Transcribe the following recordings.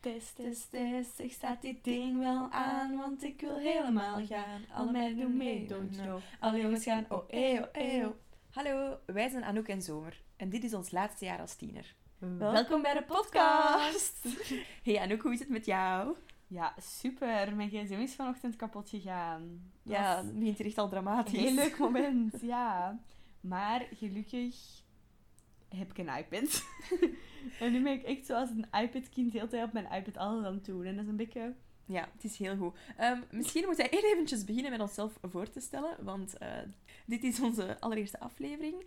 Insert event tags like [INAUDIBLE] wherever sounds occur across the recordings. Test, test, test, zeg staat dus, dit ding wel aan, want ik wil helemaal gaan. Alle meiden doen mee, don't you know. Alle jongens gaan, oh eh, oh eh, oh. Hallo, wij zijn Anouk en Zomer en dit is ons laatste jaar als tiener. Welkom bij de podcast! [LAUGHS] Hey Anouk, hoe is het met jou? Ja, super. Mijn gsm is vanochtend kapot gegaan. Dat Ja, was het begint hier echt al een dramatisch. heel leuk moment, [LAUGHS] ja. Maar gelukkig heb ik een iPad. [LAUGHS] en nu ben ik echt zoals een iPad-kind de hele tijd op mijn iPad alles aan het doen. En dat is een beetje... [LAUGHS] Ja, het is heel goed. Ehm, misschien moeten we heel eventjes beginnen met onszelf voor te stellen, want eh, dit is onze allereerste aflevering.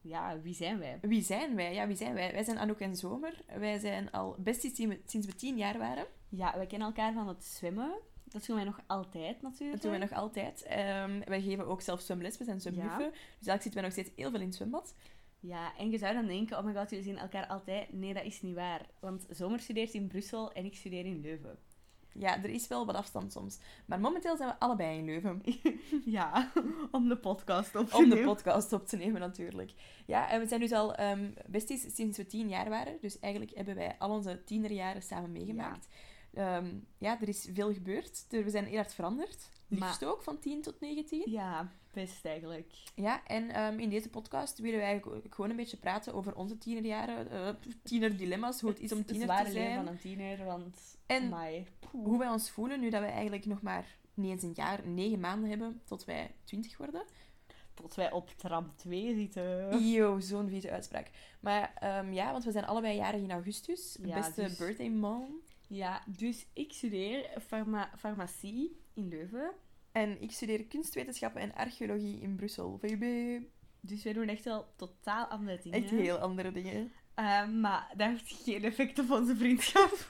Ja, wie zijn wij? Wie zijn wij? Ja, wie zijn wij? Wij zijn Anouk en Zomer. Wij zijn al besties sinds we- sinds we tien jaar waren. Ja, wij kennen elkaar van het zwemmen. Dat doen wij nog altijd natuurlijk. Dat doen wij nog altijd. Ehm, wij geven ook zelf zwemles, we zijn zwemjuffen. Dus eigenlijk zitten wij nog steeds heel veel in het zwembad. Ja, en je zou dan denken, oh my god, jullie zien elkaar altijd. Nee, dat is niet waar. Want Zomer studeert in Brussel en ik studeer in [LAUGHS] Leuven. Ja, er is wel wat afstand soms. Maar momenteel zijn we allebei in Leuven. Ja, [LAUGHS] om de podcast op te Om de nemen. podcast op te nemen, natuurlijk. Ja, en we zijn dus al ehm besties sinds we tien jaar waren. Dus eigenlijk hebben wij al onze tienerjaren samen meegemaakt. Ja, ja er is veel gebeurd. Er- We zijn heel hard veranderd. Liefst ook, van 10 tot 19. [LAUGHS] Ja, best eigenlijk. Ja, en ehm, in deze podcast willen we eigenlijk ook gewoon een beetje praten over onze tienerjaren, eh [LAUGHS] tienerdilemma's, hoe het is om Het tiener te zware leven zijn. van een tiener, want... En amai. hoe wij ons voelen nu dat we eigenlijk nog maar niet eens een jaar, negen maanden hebben tot wij twintig worden. Tot wij op trap 2 zitten. Yo, zo'n vieze uitspraak. Maar ehm, ja, want we zijn allebei jarig in augustus. Ja, Beste dus- birthday mom. Ja, dus ik studeer farma farmacie in Leuven. En ik studeer kunstwetenschappen en archeologie in Brussel. VUB. Dus wij doen echt wel totaal andere dingen. Echt heel andere dingen. Eh, maar dat heeft geen effect op onze vriendschap. [LAUGHS]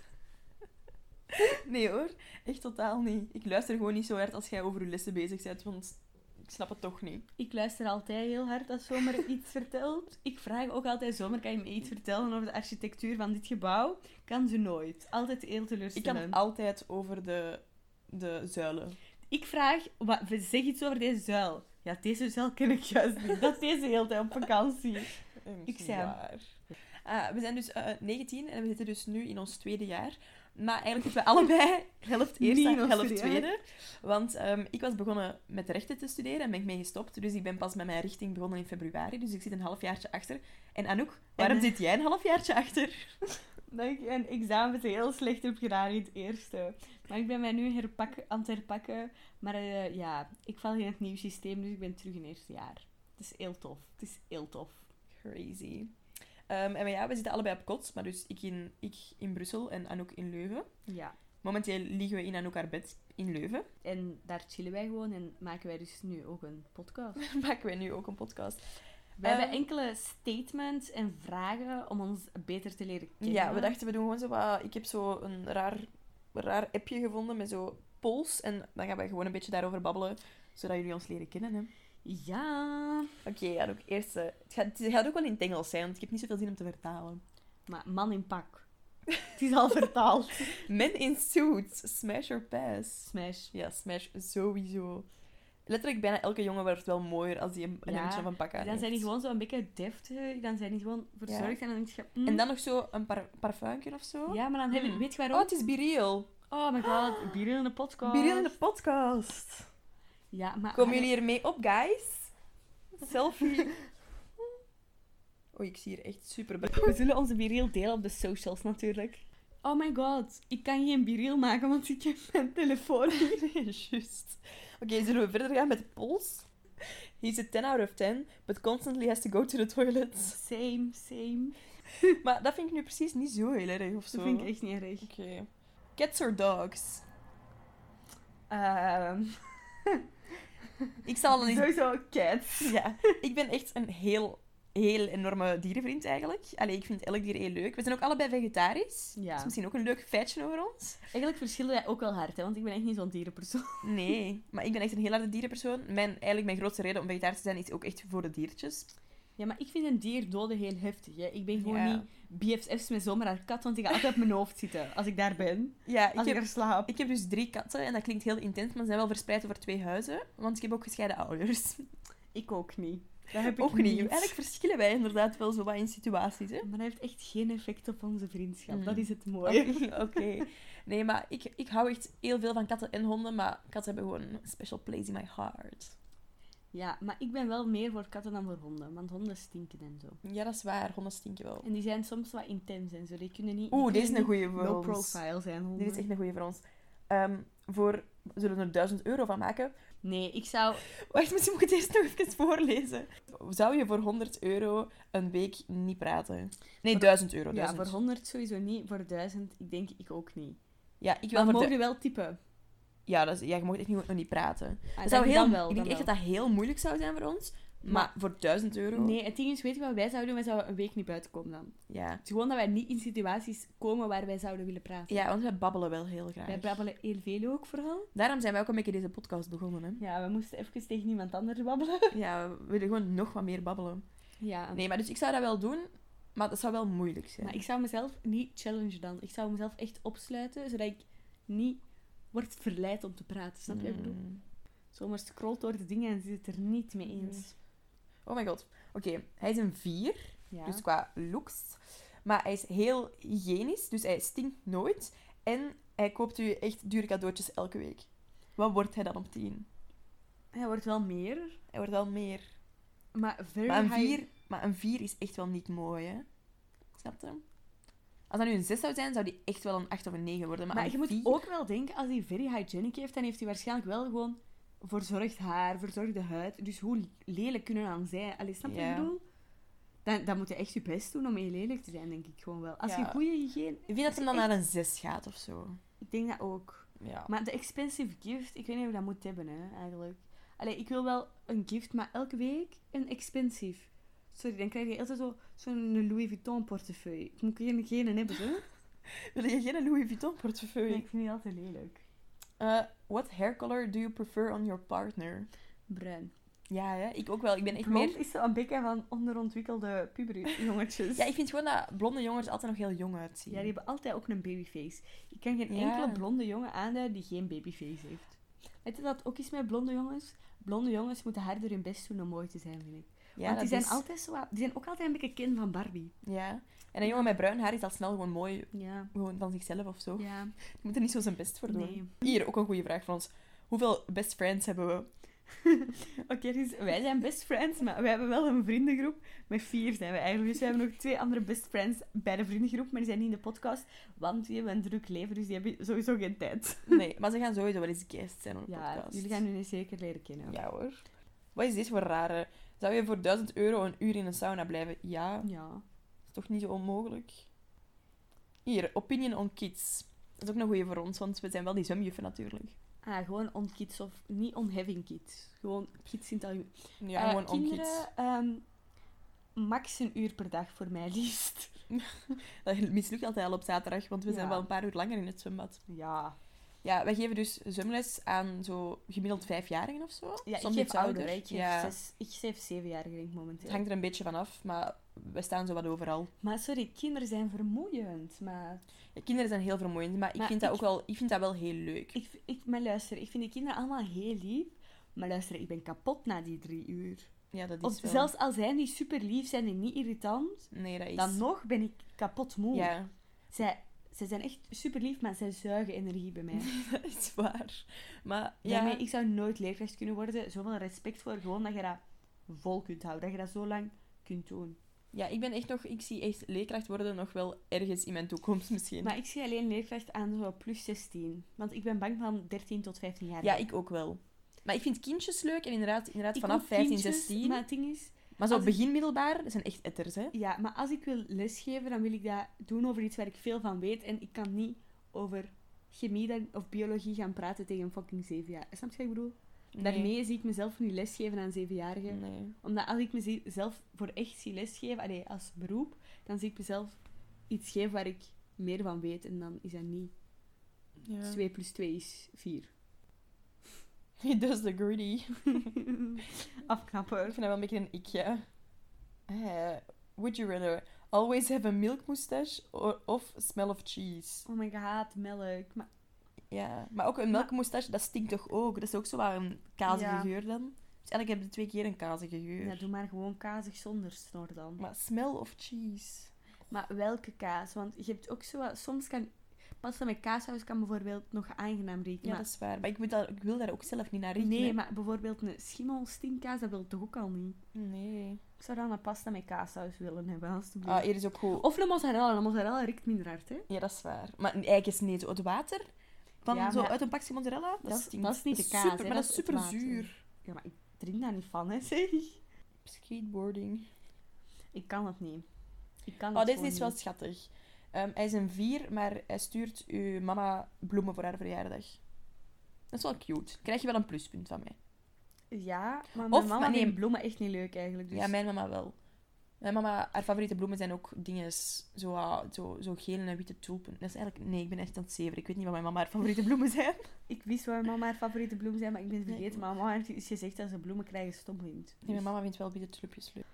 Nee hoor, echt totaal niet. Ik luister gewoon niet zo hard als jij over je lessen bezig bent, want ik snap het toch niet. Ik luister altijd heel hard als [LAUGHS] Zomer iets vertelt. Ik vraag ook altijd, Zomer, kan je me iets vertellen over de architectuur van dit gebouw? Kan ze nooit. Altijd heel Ik teleurstellend. kan altijd over de, de zuilen. Ik vraag, wa- zeg iets over deze zuil. Ja, deze zuil ken ik juist niet. Dat is deze heel tijd op vakantie. Ik zei hem. Eh, Ah, we zijn dus eh, 19 en we zitten dus nu in ons tweede jaar. Maar eigenlijk zitten we allebei [LAUGHS] helft Niet eerste, in ons helft tweede jaar. tweede. Want ehm, ik was begonnen met rechten te studeren en ben ik mee gestopt. Dus ik ben pas met mijn richting begonnen in februari. Dus ik zit een halfjaartje achter. En Anouk, waarom eh, zit jij een halfjaartje achter? Dat ik een examen heel slecht heb gedaan in het eerste. Maar ik ben mij nu herpakken, aan het herpakken. Maar eh, ja, ik val in het nieuw systeem, dus ik ben terug in het eerste jaar. Het is heel tof. Het is heel tof. Crazy. Ehm, en ja, we zitten allebei op kots. Maar dus ik in, ik in Brussel en Anouk in Leuven. Ja. Momenteel liggen we in Anouk haar bed in Leuven. En daar chillen wij gewoon en maken wij dus nu ook een podcast. [LAUGHS] Maken wij nu ook een podcast. Wij Ehm. hebben enkele statements en vragen om ons beter te leren kennen. Ja, we dachten we doen gewoon zo wat... Ik heb zo een raar, raar appje gevonden met zo polls. En dan gaan we gewoon een beetje daarover babbelen, zodat jullie ons leren kennen. hè. Ja. Oké, ja, ook eerst... eh, het, gaat, het gaat ook wel in het Engels zijn, want ik heb niet zoveel zin om te vertalen. Maar man in pak. Het is al vertaald. Men in suits, smash or pass. [LAUGHS] Smash. Ja, smash sowieso. Letterlijk bijna elke jongen wordt wel mooier als hij een, een Ja, hemdje of een pak aan Dan zijn die heeft. gewoon zo een beetje deftig. Dan zijn die gewoon verzorgd. En dan denk je... mm. En dan nog zo een par parfumje of zo. Ja, maar dan heb Mm. je, weet je Oh, waarom? het is Biriel. Oh my god, bier in de podcast. Biriel in de podcast. Ja, maar... Komen jullie hiermee op, guys? Selfie. Oh, ik zie hier echt super... We zullen onze biriel delen op de socials natuurlijk. Oh my god, ik kan geen biriel maken, want ik heb mijn telefoon [LAUGHS] niet. Juist. Oké, zullen we verder gaan met de polls? He's a 10 out of 10, but constantly has to go to the [LAUGHS] toilet. Same, same. Maar dat vind ik nu precies niet zo heel erg of zo. Dat vind ik echt niet erg. Oké. Cats or dogs? [LAUGHS] Ehm, Ik zal al eens... sowieso cats. [LAUGHS] Ja, ik ben echt een heel, heel enorme dierenvriend eigenlijk. Allee, ik vind elk dier heel leuk. We zijn ook allebei vegetarisch. Ja. Dat is misschien ook een leuk feitje over ons. Eigenlijk verschillen wij ook wel hard, hè, want ik ben echt niet zo'n dierenpersoon. [LAUGHS] Nee, maar ik ben echt een heel harde dierenpersoon. Mijn, eigenlijk mijn grootste reden om vegetarisch te zijn is ook echt voor de diertjes. Ja, maar ik vind een dier doden heel heftig. Hè. Ik ben gewoon Ja. niet BFF's met zomaar haar kat, want die gaat altijd op mijn hoofd zitten als ik daar ben. Ja, ik Als ik, heb, er slaap. ik heb dus drie katten en dat klinkt heel intens, maar ze zijn wel verspreid over twee huizen. Want ik heb ook gescheiden ouders. Ik ook niet. Dat heb ik Ook niet. Eigenlijk verschillen wij inderdaad wel zo wat in situaties, hè. Maar dat heeft echt geen effect op onze vriendschap. Mm. Dat is het mooie. Oké. [LAUGHS] oké. Nee, maar ik, ik hou echt heel veel van katten en honden, maar katten hebben gewoon een special place in my heart. [LAUGHS] Ja, maar ik ben wel meer voor katten dan voor honden. Want honden stinken en zo. Ja, dat is waar. Honden stinken wel. En die zijn soms wat intens en zo. Die kunnen niet... die Oeh, dit is kunnen een goeie voor niet low ons. profile zijn, honden. Dit is echt een goeie voor ons. Ehm, voor... We zullen er 1000 euro van maken. Nee, ik zou... [LAUGHS] Wacht, misschien moet ik het eerst nog even voorlezen. Zou je voor 100 euro een week niet praten? Nee, Voor- 1000 euro. Ja, 1000. voor 100 sowieso niet. Voor 1000, ik denk ik ook niet. Ja, ik wil Maar voor mogen du- je wel typen. ja, dat is, ja, je mag echt niet, nog niet praten. Ah, Dat dan- zou heel, dan wel, ik denk dan echt dat dat heel moeilijk zou zijn voor ons. Maar, Maar- voor 1000 euro? Nee, het ding is, weet je wat wij zouden doen? Wij zouden een week niet buiten komen dan. Ja. Het is gewoon dat wij niet in situaties komen waar wij zouden willen praten. ja, want wij babbelen wel heel graag. Wij babbelen heel veel ook vooral. Daarom zijn wij ook een beetje deze podcast begonnen. Hè? Ja, we moesten even tegen iemand anders babbelen. Ja, we willen gewoon nog wat meer babbelen. [LAUGHS] Ja, Nee, maar dus ik zou dat wel doen, maar dat zou wel moeilijk zijn. maar ik zou mezelf niet challengen dan. Ik zou mezelf echt opsluiten, zodat ik niet word verleid om te praten. Snap je wat ik bedoel? Mm. Zomaar scrollt door de dingen en zit het er niet mee eens. Oh my god. Oké, hij is een 4, Ja. dus qua looks. Maar hij is heel hygiënisch, dus hij stinkt nooit. En hij koopt u echt dure cadeautjes elke week. Wat wordt hij dan op 10? Hij wordt wel meer, Hij wordt wel meer. maar very Maar een, high- vier, maar een vier is echt wel niet mooi, hè? Snap je? Als dat nu een 6 zou zijn, zou die echt wel een 8 of een 9 worden. Maar, Maar een je moet vier- ook wel denken, als hij very hygienic heeft, dan heeft hij waarschijnlijk wel gewoon verzorgd haar, verzorgde huid. Dus hoe lelijk kunnen we dan zijn? Allee, snap je wat Ja. ik bedoel? Dan, dan moet je echt je best doen om heel lelijk te zijn, denk ik gewoon wel. Als je Ja. goede hygiëne... Ik vind dat hem dan naar een 6 gaat of zo. Ik denk dat ook. Ja. Maar de expensive gift, ik weet niet hoe dat moet hebben, hè, eigenlijk. Allee, ik wil wel een gift, maar elke week een expensive. Sorry, dan krijg je altijd zo- zo'n Louis Vuitton portefeuille. Ik moet hier geen hebben, hè? Wil je geen Louis Vuitton portefeuille? ik vind die altijd lelijk. Eh, what hair color do you prefer on your partner? Bruin. Ja, hè? ik ook wel. Ik ben echt Blond meer... is zo'n beetje van onderontwikkelde [LAUGHS] puberjongetjes. Ja, ik vind gewoon dat blonde jongens altijd nog heel jong uitzien. Ja, die hebben altijd ook een babyface. Ik kan geen Ja. enkele blonde jongen aanduiden die geen babyface heeft. Weet je dat ook is met blonde jongens? Blonde jongens moeten harder hun best doen om mooi te zijn, vind ik. Ja, Want dat die zijn, is- altijd zo, wat- die zijn ook altijd een beetje kind van Barbie. Ja. En een jongen met bruin haar is al snel gewoon mooi Ja. gewoon van zichzelf of zo. Ja. Je moet er niet zo zijn best voor doen. Nee. Hier, ook een goede vraag van ons. Hoeveel best friends hebben [LAUGHS] we? Oké, dus wij zijn best friends, maar we hebben wel een vriendengroep. Met vier zijn we eigenlijk. Dus we hebben nog twee andere best friends bij de vriendengroep, maar die zijn niet in de podcast. Want die hebben een druk leven, dus die hebben sowieso geen tijd. Nee, maar ze gaan sowieso wel eens guest zijn op de Ja, podcast. jullie gaan hun zeker leren kennen. Ja hoor. Wat is dit voor rare? Zou je voor 1000 euro een uur in een sauna blijven? Ja, Ja. is toch niet zo onmogelijk? Hier, opinion on kids. Dat is ook een goeie voor ons, want we zijn wel die zwemjuffen natuurlijk. Ah, gewoon onkids of niet onheving kids. Gewoon kids in het algemeen. Ja, Eh, gewoon on kids. kinderen, ehm, max een uur per dag voor mij [LAUGHS] liefst. Dat mislukt altijd al op zaterdag, want we zijn Ja. wel een paar uur langer in het zwembad. Ja. Ja, wij geven dus zwemles aan zo gemiddeld vijfjarigen of zo. ja Soms ik geef iets ouder. Ik geef, ja, zes, ik geef zevenjarigen denk ik het momenteel. hangt er een beetje van af, maar we staan zo wat overal. Maar sorry, kinderen zijn vermoeiend. Maar, Ja, kinderen zijn heel vermoeiend, maar, ik Maar vind dat ik- ook wel, ik vind dat wel heel leuk. ik, ik, maar luister, ik vind die kinderen allemaal heel lief. Maar luister, ik ben kapot na die drie uur. Ja, dat is Of wel... zelfs al zijn die super lief zijn en niet irritant, Nee, dat is... dan nog ben ik kapot moe. Ja, [LAUGHS] Zij, zij zijn echt super lief, maar zij zuigen energie bij mij. dat is waar. Maar [LAUGHS] ja, Daarmee, ik zou nooit leerkracht kunnen worden. Zoveel respect voor gewoon dat je dat vol kunt houden. Dat je dat zo lang kunt doen. ja, ik ben echt nog... Ik zie echt leerkracht worden nog wel ergens in mijn toekomst misschien. Maar ik zie alleen leerkracht aan zo plus 16. Want ik ben bang van 13 tot 15 jaar. Ja, ik ook wel. Maar ik vind kindjes leuk en inderdaad, inderdaad Ik vanaf moet 15, kindjes, 16. Maar Maar, het ding is... zo als ik- begin middelbaar, dat zijn echt etters, hè. Ja, maar als ik wil lesgeven, dan wil ik dat doen over iets waar ik veel van weet. En ik kan niet over chemie dan- of biologie gaan praten tegen een fucking 7 jaar. Snap je wat ik bedoel? Daarmee zie ik mezelf niet lesgeven aan 7-jarigen. Nee. Omdat als ik mezelf voor echt zie lesgeven, allee, als beroep, dan zie ik mezelf iets geven waar ik meer van weet. En dan is dat niet Ja. 2 plus 2 is [LAUGHS] 4. He does the greedy. Ik Afknapper. vind dat wel een beetje een ik, ja. Eh, would you rather always have a milk moustache or, of smell of cheese? Oh my god, melk. Maar Ja, maar ook een melkmoustache, dat stinkt toch ook? Dat is ook zo waar een kazige Ja. geur dan? Dus eigenlijk hebben ze twee keer een kazige geur. Ja, nou, doe maar gewoon kazig zonder snor dan. Maar smell of cheese? Maar welke kaas? Want je hebt ook zo... wat- Soms kan... Pasta met kaashuis kan bijvoorbeeld nog aangenaam Ja, rieken. maar- dat is waar. Maar ik, moet daar, ik wil daar ook zelf niet naar richten. nee, hè. maar bijvoorbeeld een schimmelstinkkaas, dat wil ik toch ook al niet? Nee. Ik zou dan een pasta met kaashuis willen hebben, alstublieft. Ah, hier is ook goed. Of een mozzarella. Een mozzarella riekt minder hard, hè? Ja, dat is waar. Maar eigenlijk is nee, zo het water van Ja, zo maar- uit een pakje mozzarella, dat, Dat is- stinkt. dat is niet de kaas, super- hè, maar dat dat is is het super water. zuur. Ja, maar ik drink daar niet van, hè, zeg. Skateboarding. Ik kan het niet. Ik kan Oh, het deze gewoon is wel niet. schattig. Ehm, hij is een vier, maar hij stuurt uw mama bloemen voor haar verjaardag. Dat is wel cute. Krijg je wel een pluspunt van mij. Ja, maar mijn Of- mama maar nee. vindt bloemen echt niet leuk, eigenlijk. Dus... Ja, mijn mama wel. Mijn mama, haar favoriete bloemen zijn ook dingen zo, ah, zo, zo gele en witte tulpen. Dat is eigenlijk... Nee, ik ben echt aan het zeven. Ik weet niet wat mijn mama haar favoriete bloemen zijn. Ik wist waar mama haar favoriete bloem zijn, maar ik ben het Nee. vergeten. Maar mama heeft iets gezegd dat ze bloemen krijgen Dus stom vindt. [LAUGHS] Nee, mijn mama vindt wel witte tulpjes leuk.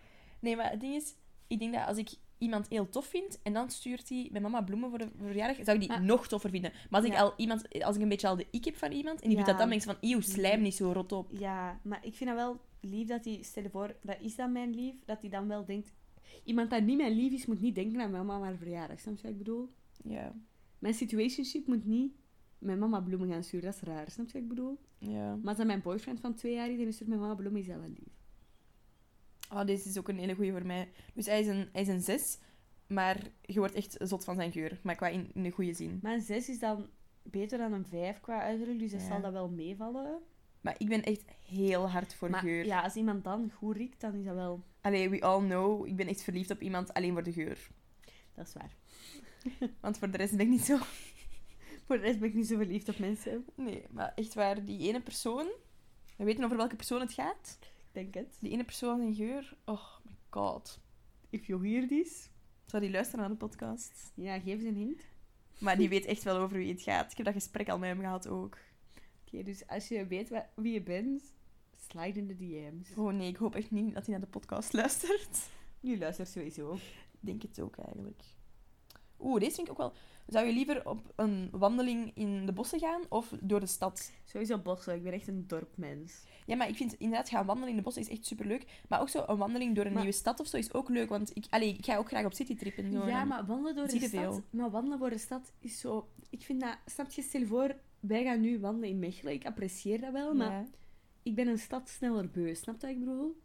Nee, maar het ding is... Ik denk dat als ik iemand heel tof vind en dan stuurt hij mijn mama bloemen voor de voor de verjaardag, zou ik die Maar- nog toffer vinden. Maar als, ik Ja. al iemand, als ik een beetje al de ik heb van iemand en die doet Ja. dat dan, denk ik zo van, eeuw, slijm niet zo rot op. Ja, maar ik vind dat wel lief dat hij, stel je voor, dat is dan mijn lief, dat hij dan wel denkt... Iemand dat niet mijn lief is, moet niet denken aan mijn mama haar verjaardag. Snap je wat ik bedoel? Ja, Mijn situationship moet niet mijn mama bloemen gaan sturen. Dat is raar, snap je wat ik bedoel? ja. Maar als dat mijn boyfriend van twee jaar is en hij stuurt mijn mama bloemen, is dat wel lief. Oh, deze is ook een hele goeie voor mij. Dus hij is een, hij is een zes, maar je wordt echt zot van zijn geur. Maar qua in, in de goede zin. Maar een zes is dan beter dan een vijf qua uiterlijk, dus dat Ja. zal dat wel meevallen. Maar ik ben echt heel hard voor maar geur. ja, als iemand dan goed riekt, dan is dat wel... Allee, we all know, ik ben echt verliefd op iemand alleen voor de geur. Dat is waar. Want voor de rest ben ik niet zo... Voor de rest ben ik niet zo verliefd op mensen. [LAUGHS] Nee, maar echt waar, die ene persoon... We weten over welke persoon het gaat. Ik denk het. Die ene persoon zijn geur... Oh my god. If you hear this... Zou die luisteren naar de podcast? Ja, geef eens een hint. Maar [LAUGHS] die weet echt wel over wie het gaat. Ik heb dat gesprek al met hem gehad ook. Oké, dus als je weet wa- wie je bent, slide in de DM's. Oh nee, ik hoop echt niet dat hij naar de podcast luistert. Je luistert sowieso. Ik Denk het ook eigenlijk. Oeh, deze vind ik ook wel... Zou je liever op een wandeling in de bossen gaan of door de stad? Sowieso bossen, ik ben echt een dorpmens. Ja, maar ik vind inderdaad gaan wandelen in de bossen is echt superleuk. Maar ook zo een wandeling door een Maar- nieuwe stad of zo is ook leuk. Want ik, allee, ik ga ook graag op citytrip en zo. ja, En- maar wandelen door zie de je stad. veel. Maar wandelen door de stad is zo. Ik vind dat. Snap je, stel voor, wij gaan nu wandelen in Mechelen. Ik apprecieer dat wel, maar Ja. ik ben een stad sneller beu. Snap je wat ik bedoel?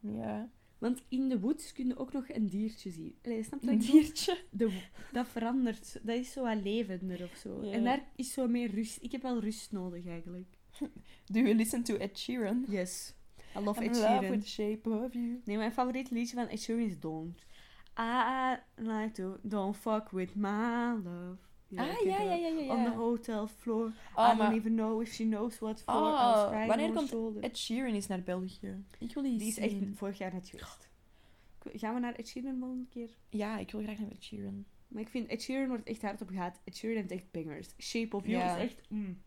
ja. Want in de woods kun je ook nog een diertje zien. Allee, snap je wat Een ik bedoel? diertje. De wo- dat verandert. Dat is zo wat levender of zo. Ja. En daar is zo meer rust. Ik heb wel rust nodig eigenlijk. Do you listen to Ed Sheeran? Yes. I love I'm Ed in Sheeran. love with the shape of you. Nee, mijn favoriet liedje van Ed Sheeran is Don't. Ah, I like to don't fuck with my love. You ah, like it ja, ja, up ja, ja. ja. On the hotel floor. I oh, don't maar even know if she knows what for. Oh, I was crying wanneer on her komt shoulder. Ed Sheeran is naar België. Ik wil die, Die is echt zien. vorig jaar net geweest. Ik- Gaan we naar Ed Sheeran wel een keer? Ja, ik wil graag naar Ed Sheeran. Maar ik vind Ed Sheeran wordt echt hard op gehaat. Ed Sheeran heeft echt bangers. Shape of You Ja. is echt... mm,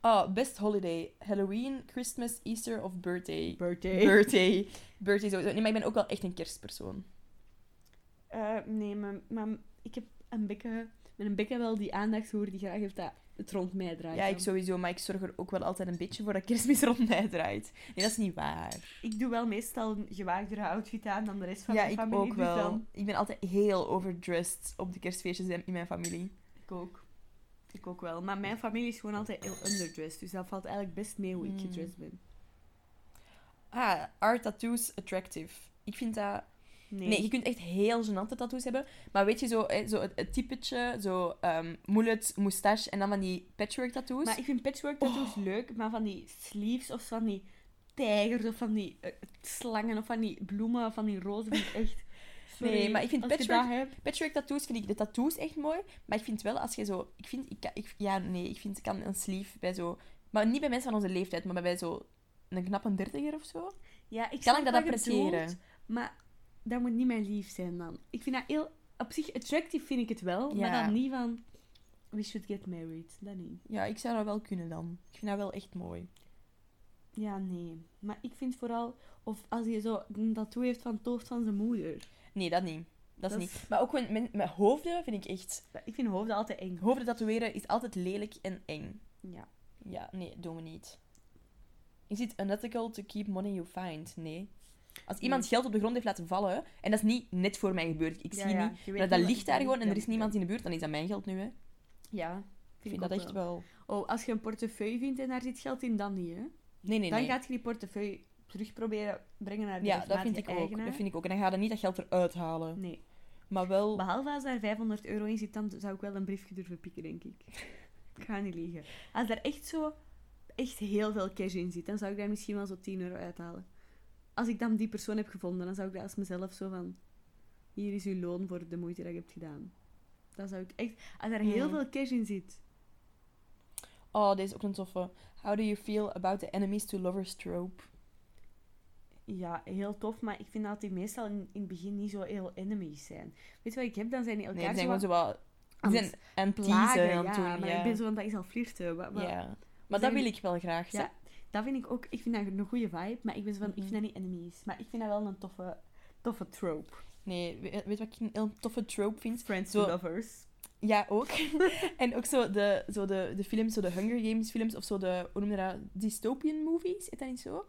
Oh, best holiday. Halloween, Christmas, Easter of birthday? birthday. Birthday. Birthday sowieso. Nee, maar ik ben ook wel echt een kerstpersoon. [LAUGHS] Eh, nee, maar, maar ik heb een bikke... Met een bikke wel die aandachtshoer die graag heeft dat het rond mij draait. Ja, dan. ik sowieso, maar ik zorg er ook wel altijd een beetje voor dat kerstmis [LAUGHS] rond mij draait. Nee, dat is niet waar. Ik doe wel meestal een gewaagdere outfit aan dan de rest van ja, mijn ik familie. ook dus wel. dan- Ik ben altijd heel overdressed op de kerstfeestjes in mijn familie. Ik ook. Ik ook wel. Maar mijn familie is gewoon altijd heel underdressed. Dus dat valt eigenlijk best mee hoe ik Hmm. gedressed ben. Ah, are tattoos attractive? Ik vind dat... Nee, je kunt echt heel gênante tattoos hebben. Maar weet je, zo, hè, zo het, het typetje, zo ehm mullet, moustache en dan van die patchwork tattoos. Maar ik vind patchwork Oh. tattoos leuk. Maar van die sleeves of van die tijgers of van die eh, slangen of van die bloemen of van die [LAUGHS] rozen vind ik echt... Sorry, Nee, maar ik vind als je patchwork- dat hebt- Patchwork tattoos vind ik de tattoos echt mooi. Maar ik vind wel als je zo. Ik vind. Ik, kan- ik, ja, nee, ik vind ik kan een sleeve bij zo. Maar niet bij mensen van onze leeftijd, maar bij zo. Een knappe dertiger of zo. Ja, ik Kan snap ik dat wat je bedoelt, appreciëren? Maar dat moet niet mijn lief zijn dan. Ik vind dat heel... Op zich attractief vind ik het wel. Maar Ja. dan niet van... We should get married. Dat niet. Ja, ik zou dat wel kunnen dan. Ik vind dat wel echt mooi. Ja, nee. Maar ik vind vooral... Of als je zo een tattoo heeft van het hoofd van zijn moeder. Nee, dat niet. Dat, Dat is is- niet. Maar ook gewoon men- met hoofden vind ik echt. Ja, Ik vind hoofden altijd eng. Hoofden tatoeëren is altijd lelijk en eng. Ja. Ja, nee, doen we niet. Is it unethical to keep money you find? Nee. Als Nee. iemand geld op de grond heeft laten vallen, en dat is niet net voor mij gebeurd, ik zie niet. Maar dat ligt daar gewoon en er is niemand in de buurt, dan is dat mijn geld nu. Hè. Ik Ja, vind, vind ik dat ook echt wel. Oh, als je een portefeuille vindt en daar zit geld in, dan niet, hè? Nee, nee, dan nee. gaat je die portefeuille terug proberen brengen naar de ja, dat vind rechtmatige ik ook. eigenaar. Dat vind ik ook. En dan ga je niet dat geld eruit halen. Nee. Maar wel. Behalve als daar 500 euro in zit, dan zou ik wel een briefje durven pikken, denk [LAUGHS] ik. ik ga niet liegen. Als daar echt zo echt heel veel cash in zit, dan zou ik daar misschien wel zo 10 euro uithalen. Als ik dan die persoon heb gevonden, dan zou ik dat als mezelf zo van... Hier is uw loon voor de moeite dat je hebt gedaan. Dan zou ik echt... Als daar heel Hmm. veel cash in zit... Oh, deze is ook een toffe. How do you feel about the enemies to lovers trope? Ja, heel tof, maar ik vind dat die meestal in, in het begin niet zo heel enemies zijn. Weet je wat ik heb? Dan zijn die Nee, elkaar die zijn zo gewoon wat zo wel. aan Die het zijn aan het plagen. teasen aan ja, het doen, maar ja. ik ben zo van, dat is al flirten. Wat, wat- Ja. Maar zijn- dat wil ik wel graag. Ja. Ja. Dat vind ik ook... Ik vind dat een goede vibe, maar ik ben zo van, ik vind Mhm. dat niet enemies. Maar ik vind dat wel een toffe, toffe trope. Nee, weet weet wat ik een heel toffe trope vind? Friends Zo- to lovers. Ja, [LAUGHS] ook. en ook zo de, zo de, de films, zo de Hunger Games films of zo de, hoe noem je dat? Dystopian movies, is dat niet zo?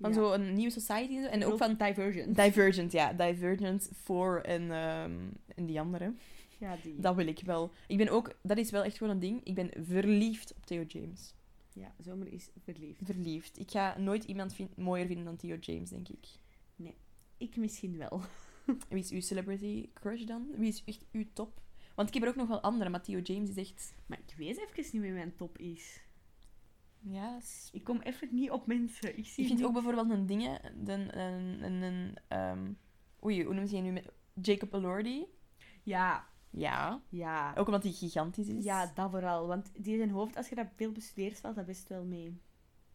Van Ja. zo een nieuwe society en zo. En ook van Divergent. Divergent, ja. Divergent, voor en, ehm, en die andere. ja, die. Dat wil ik wel. Ik ben ook, dat is wel echt gewoon een ding, ik ben verliefd op Theo James. Ja, zomer is verliefd. Verliefd. Ik ga nooit iemand vind, mooier vinden dan Theo James, denk ik. Ik misschien wel. [LAUGHS] Wie is uw celebrity crush dan? Wie is echt uw top? Want ik heb er ook nog wel andere, maar Theo James is echt... Maar ik weet even niet meer mijn top is. Ja, s- Ik kom even niet op mensen. Ik zie Ik vind niet- ook bijvoorbeeld een dingen, een, een, een, een ehm, oei, hoe noemen ze je nu? met- Jacob Elordi. Ja, Ja. ja. Ook omdat hij gigantisch is. Ja, dat vooral. Want die zijn hoofd, als je dat veel bestudeert, valt dat best wel mee.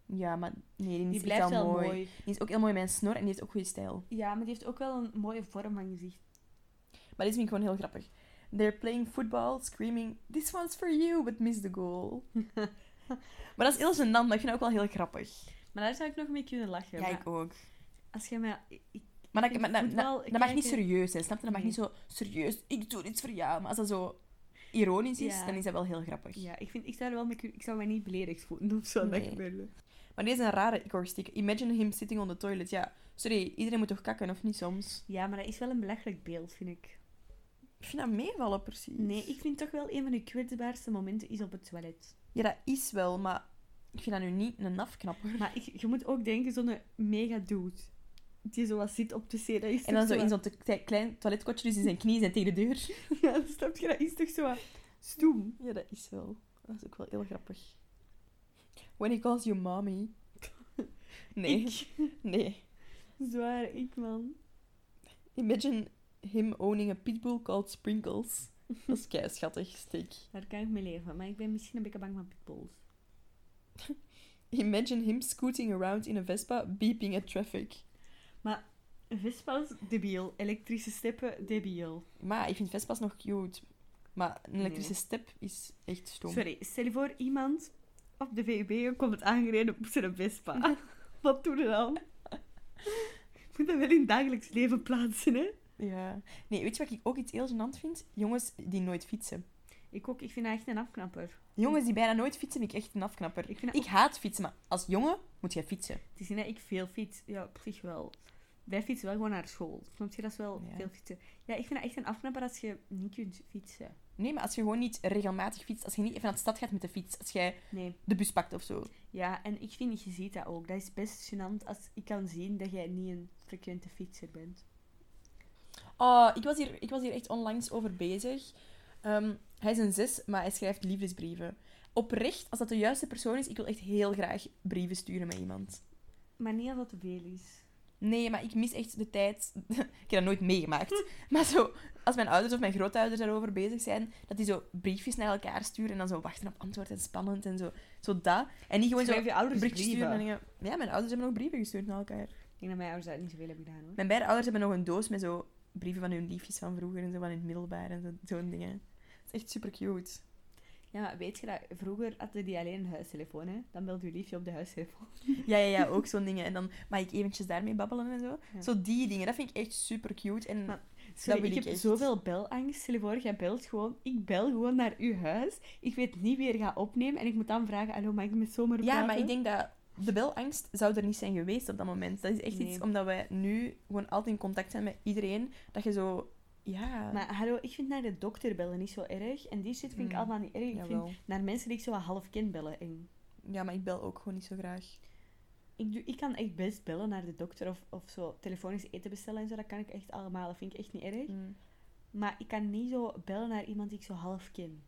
Ja, maar nee, die, Die is blijft echt wel wel mooi. mooi. Die is ook heel mooi met een snor en die heeft ook goede stijl. Ja, maar die heeft ook wel een mooie vorm van gezicht. Maar dit vind ik gewoon heel grappig. They're playing football, screaming, this one's for you, but miss the [LAUGHS] goal. maar dat is heel gênant, maar ik vind dat ook wel heel grappig. Maar daar zou ik nog mee kunnen lachen. Ja, maar ik ook. als je mij... Ik, ik Maar dat, vind maar dat- dat- voetbal dat mag niet kijken- Mhm. serieus zijn, snap je? Dat mag Nee. niet zo serieus, ik doe dit voor jou. Maar als dat zo ironisch is, Ja. dan is dat wel heel grappig. Ja, ik, vind, ik zou er wel mee kunnen... Ik zou mij niet beledigd voelen of zo. dat Nee. gebeurde. Maar deze is een rare icoristic. Imagine him sitting on the toilet. Ja, sorry, iedereen moet toch kakken, of niet soms? Ja, maar dat is wel een belachelijk beeld, vind ik. Ik vind dat meevallen, precies. Nee, ik vind toch wel een van de kwetsbaarste momenten is op het toilet. Ja, dat is wel, maar ik vind dat nu niet een [LAUGHS] afknapper. Maar ik, je moet ook denken, zo'n mega dude. Die zo wat zit op de C, dat is En toch dan zo in wat- zo'n te- te- klein toiletkotje, dus in zijn knieën zijn tegen de deur. [LAUGHS] Ja, snap je? Dat is toch zo wat stoem. [LAUGHS] Ja, dat is wel. Dat is ook wel heel grappig. When he calls you [LAUGHS] mommy. Nee, Ik, [LAUGHS] nee. zwaar, ik man. Imagine him owning a pitbull called [LAUGHS] Sprinkles. Dat is kei schattig, steek. Daar kan ik mee leven. Maar ik ben misschien een beetje bang van pitbulls. Imagine him scooting around in a Vespa, beeping at traffic. Vespa's, debiel. Elektrische steppen, debiel. Maar ik vind Vespa's nog cute. Maar een elektrische Nee. step is echt stom. Sorry, stel je voor, iemand op de VUB komt aangereden op zijn Vespa. [LAUGHS] Wat doen we dan? Ik moet dat wel in het dagelijks leven plaatsen, hè? Ja. Nee, weet je wat ik ook iets heel gênant vind? Jongens die nooit fietsen. Ik ook, ik vind dat echt een afknapper. Jongens die bijna nooit fietsen, vind ik echt een afknapper. Ik vind dat Ik haat fietsen, maar als jongen moet jij fietsen. Het is niet dat ik veel fiets. Ja, op zich wel. Wij fietsen wel gewoon naar school. Snap je? Dat is wel Ja. veel fietsen. Ja, ik vind dat echt een afknapper als je niet kunt fietsen. Nee, maar als je gewoon niet regelmatig fietst, als je niet even naar de stad gaat met de fiets, als jij Nee. de bus pakt of zo. Ja, en ik vind, je ziet dat ook. Dat is best gênant als ik kan zien dat jij niet een frequente fietser bent. Oh, ik was hier, ik was hier echt onlangs over bezig. Ehm, hij is een zes, maar hij schrijft liefdesbrieven. Oprecht, als dat de juiste persoon is, ik wil echt heel graag brieven sturen met iemand. Maar niet als dat te veel is. Nee, maar ik mis echt de tijd. [LAUGHS] ik heb dat nooit meegemaakt. Hm. Maar zo, als mijn ouders of mijn grootouders daarover bezig zijn, dat die zo briefjes naar elkaar sturen en dan zo wachten op antwoord en spannend en zo. Zo dat. En niet gewoon zo Schrijf je ouders briefjes sturen. En brieven. dingen. Ja, mijn ouders hebben nog brieven gestuurd naar elkaar. Ik denk dat mijn ouders dat niet zoveel hebben gedaan hoor. Mijn beide ouders hebben nog een doos met zo brieven van hun liefjes van vroeger en zo van in het middelbaar en zo, zo'n dingen. Het is echt super cute. Ja, maar weet je dat? Vroeger hadden die alleen een huistelefoon hè. Dan belde je liefje op de [LAUGHS] huistelefoon. Ja, ja, ja, ook zo'n dingen. En dan mag ik eventjes daarmee babbelen en zo. Ja. Zo die dingen, dat vind ik echt super cute. En Maar- Sorry, wil ik ik heb echt. zoveel belangst. Stel je voor, jij belt gewoon. Ik bel gewoon naar uw huis. Ik weet niet wie er gaat opnemen. En ik moet dan vragen, hallo, mag ik met zomer ja, praten? maar ik denk dat de belangst zou er niet zijn geweest op dat moment. Dat is echt Nee. iets omdat wij nu gewoon altijd in contact zijn met iedereen. Dat je zo... Ja... Maar hallo, ik vind naar de dokter bellen niet zo erg. En die shit vind ik Mm. allemaal niet erg. Ik vind Jawel. naar mensen die ik zo wat half ken bellen eng. Ja, maar ik bel ook gewoon niet zo graag. Ik, doe, ik kan echt best bellen naar de dokter of, of zo telefonisch eten bestellen en zo. Dat kan ik echt allemaal. Dat vind ik echt niet Hmm. erg. Mm. Maar ik kan niet zo bellen naar iemand die ik zo half ken.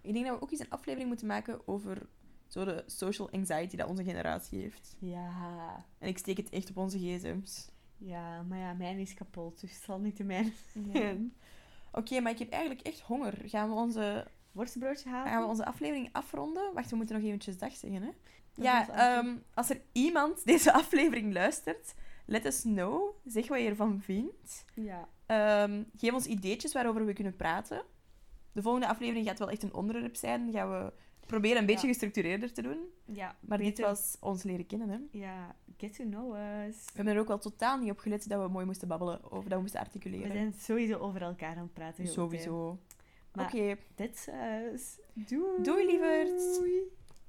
Ik denk dat we ook eens een aflevering moeten maken over zo de social anxiety dat onze generatie heeft. Ja, En ik steek het echt op onze gsm's. ja, maar ja, mijn is kapot, dus het zal niet de mijne [LAUGHS] [LAUGHS] Oké, zijn. maar ik heb eigenlijk echt honger. Gaan we onze, Worstenbroodje halen? gaan we onze aflevering afronden? Wacht, we moeten nog eventjes dag zeggen, hè? Dat ja, was antwoord. ehm, als er iemand [LAUGHS] deze aflevering luistert, let us know. Zeg wat je ervan vindt. Ja. Ehm, geef ons ideetjes waarover we kunnen praten. De volgende aflevering gaat wel echt een onderwerp zijn. Gaan we proberen een beetje Ja. gestructureerder te doen. ja, Maar dit beter- was ons leren kennen, hè? Ja, get to know us. We hebben er ook wel totaal niet op gelet dat we mooi moesten babbelen of dat we moesten We articuleren. zijn sowieso over elkaar aan het praten. heel de tijd. Sowieso. Oké, Maar- That's us. Doei. doei lieverd!